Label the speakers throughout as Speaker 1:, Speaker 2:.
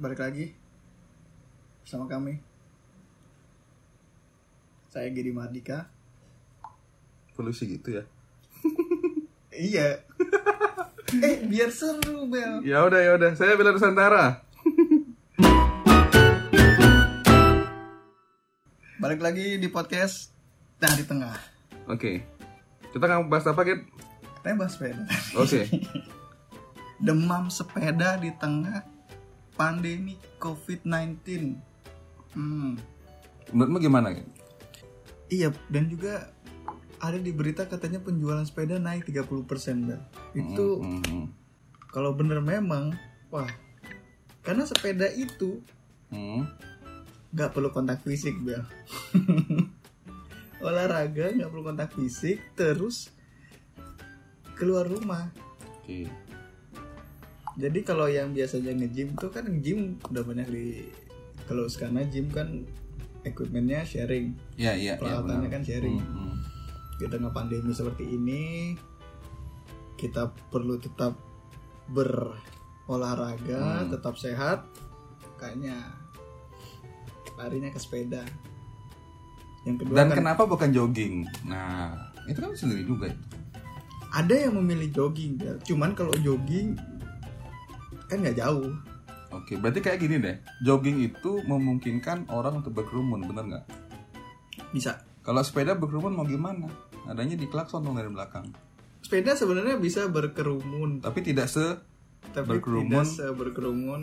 Speaker 1: balik lagi bersama kami. Saya Giri Mardika.
Speaker 2: Polusi gitu ya.
Speaker 1: Iya. eh, biar seru, Bel.
Speaker 2: Ya udah ya udah, saya Bela Nusantara.
Speaker 1: Balik lagi di podcast Nah di Tengah.
Speaker 2: Oke. Kita nggak bahas apa, Kit?
Speaker 1: Katanya bahas sepeda.
Speaker 2: Oke.
Speaker 1: Demam sepeda di tengah pandemi COVID-19. Hmm.
Speaker 2: Menurutmu gimana, Kit?
Speaker 1: Iya, dan juga ada di berita katanya penjualan sepeda naik 30%, Bel. Itu
Speaker 2: Hmm, hmm,
Speaker 1: kalau bener memang, wah. Karena sepeda itu
Speaker 2: hmm.
Speaker 1: nggak perlu kontak fisik bel olahraga nggak perlu kontak fisik terus keluar rumah
Speaker 2: Oke.
Speaker 1: jadi kalau yang biasanya nge-gym tuh kan nge-gym udah banyak di kalau sekarang gym kan equipmentnya sharing
Speaker 2: Iya, iya, iya.
Speaker 1: peralatannya
Speaker 2: benar.
Speaker 1: kan sharing
Speaker 2: Hmm, hmm.
Speaker 1: di tengah pandemi seperti ini kita perlu tetap berolahraga
Speaker 2: Hmm.
Speaker 1: tetap sehat kayaknya larinya ke sepeda yang kedua
Speaker 2: Dan
Speaker 1: kan
Speaker 2: kenapa bukan jogging? Nah, itu kan sendiri juga. itu.
Speaker 1: ada yang memilih jogging Bel. cuman kalau jogging kan nggak jauh
Speaker 2: Oke, berarti kayak gini deh. Jogging itu memungkinkan orang untuk berkerumun, bener nggak?
Speaker 1: bisa
Speaker 2: Kalau sepeda berkerumun mau gimana? Adanya di klakson dong dari belakang.
Speaker 1: sepeda sebenarnya bisa berkerumun
Speaker 2: Tapi tidak se
Speaker 1: tapi
Speaker 2: Berkerumun.
Speaker 1: tidak berkerumun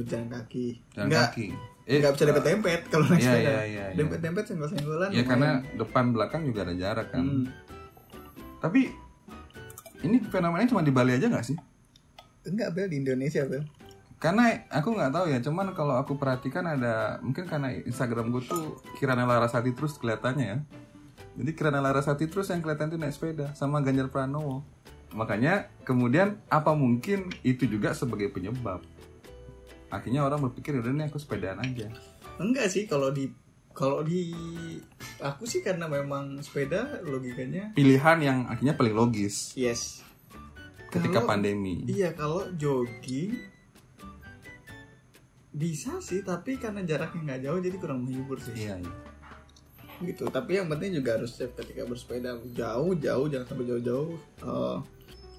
Speaker 1: berjalan kaki
Speaker 2: jalan
Speaker 1: nggak
Speaker 2: kaki. Eh,
Speaker 1: nggak bisa dempet dempet kalau naik
Speaker 2: Iya,
Speaker 1: sepeda
Speaker 2: iya, iya, iya.
Speaker 1: dempet dempet senggol senggolan
Speaker 2: Ya karena depan belakang juga ada jarak kan.
Speaker 1: Hmm.
Speaker 2: Tapi ini fenomenanya cuma di Bali aja nggak sih?
Speaker 1: Enggak Bel di Indonesia Bel
Speaker 2: Karena aku nggak tahu ya, cuman kalau aku perhatikan ada mungkin karena Instagram gue tuh Kirana Larasati terus kelihatannya ya. Jadi Kirana Larasati terus yang kelihatan tuh naik sepeda sama Ganjar Pranowo. Makanya kemudian apa mungkin itu juga sebagai penyebab? Akhirnya orang berpikir udah nih aku sepedaan aja.
Speaker 1: Enggak sih kalau di kalau di aku sih karena memang sepeda logikanya
Speaker 2: Pilihan yang akhirnya paling logis
Speaker 1: yes
Speaker 2: ketika
Speaker 1: Kalau-
Speaker 2: pandemi.
Speaker 1: Iya kalau jogging bisa sih tapi karena jaraknya nggak jauh jadi kurang menghibur sih
Speaker 2: Iya, iya.
Speaker 1: gitu tapi yang penting juga harus safe ketika bersepeda jauh-jauh jangan sampai jauh-jauh Eh,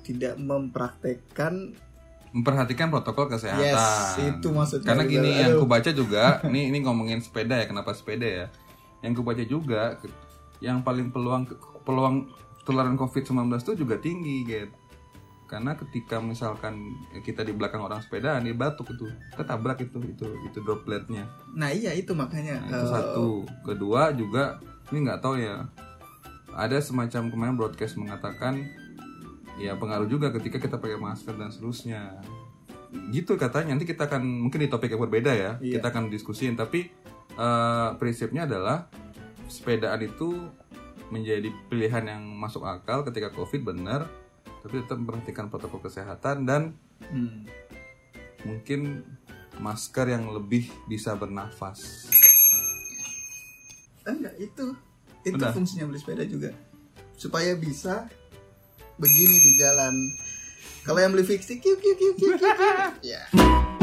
Speaker 1: tidak mempraktekkan
Speaker 2: memperhatikan protokol kesehatan.
Speaker 1: Yes, itu maksudnya.
Speaker 2: Karena gini
Speaker 1: Aduh.
Speaker 2: yang kubaca juga, nih ini ngomongin sepeda ya, kenapa sepeda ya? Yang kubaca juga ke- yang paling peluang peluang tularan COVID-19 itu juga tinggi, gitu. Karena ketika misalkan kita di belakang orang sepedaan dia batuk itu, ketabrak itu itu itu dropletnya.
Speaker 1: nah iya itu makanya
Speaker 2: Nah, itu
Speaker 1: eh,
Speaker 2: satu. Kedua juga ini nggak tahu ya. Ada semacam kemarin broadcast mengatakan ya pengaruh juga ketika kita pakai masker dan seterusnya. Gitu katanya nanti kita akan mungkin di topik yang berbeda ya.
Speaker 1: Iya.
Speaker 2: Kita akan diskusiin tapi eh, prinsipnya adalah sepedaan itu menjadi pilihan yang masuk akal ketika Covid benar tapi tetap memperhatikan protokol kesehatan dan
Speaker 1: hmm.
Speaker 2: mungkin masker yang lebih bisa bernafas.
Speaker 1: enggak Eh, itu itu
Speaker 2: Udah.
Speaker 1: fungsinya beli sepeda juga supaya bisa begini di jalan kalau yang beli fiksi kiu kiu kiu kiu kiu, kiu. ya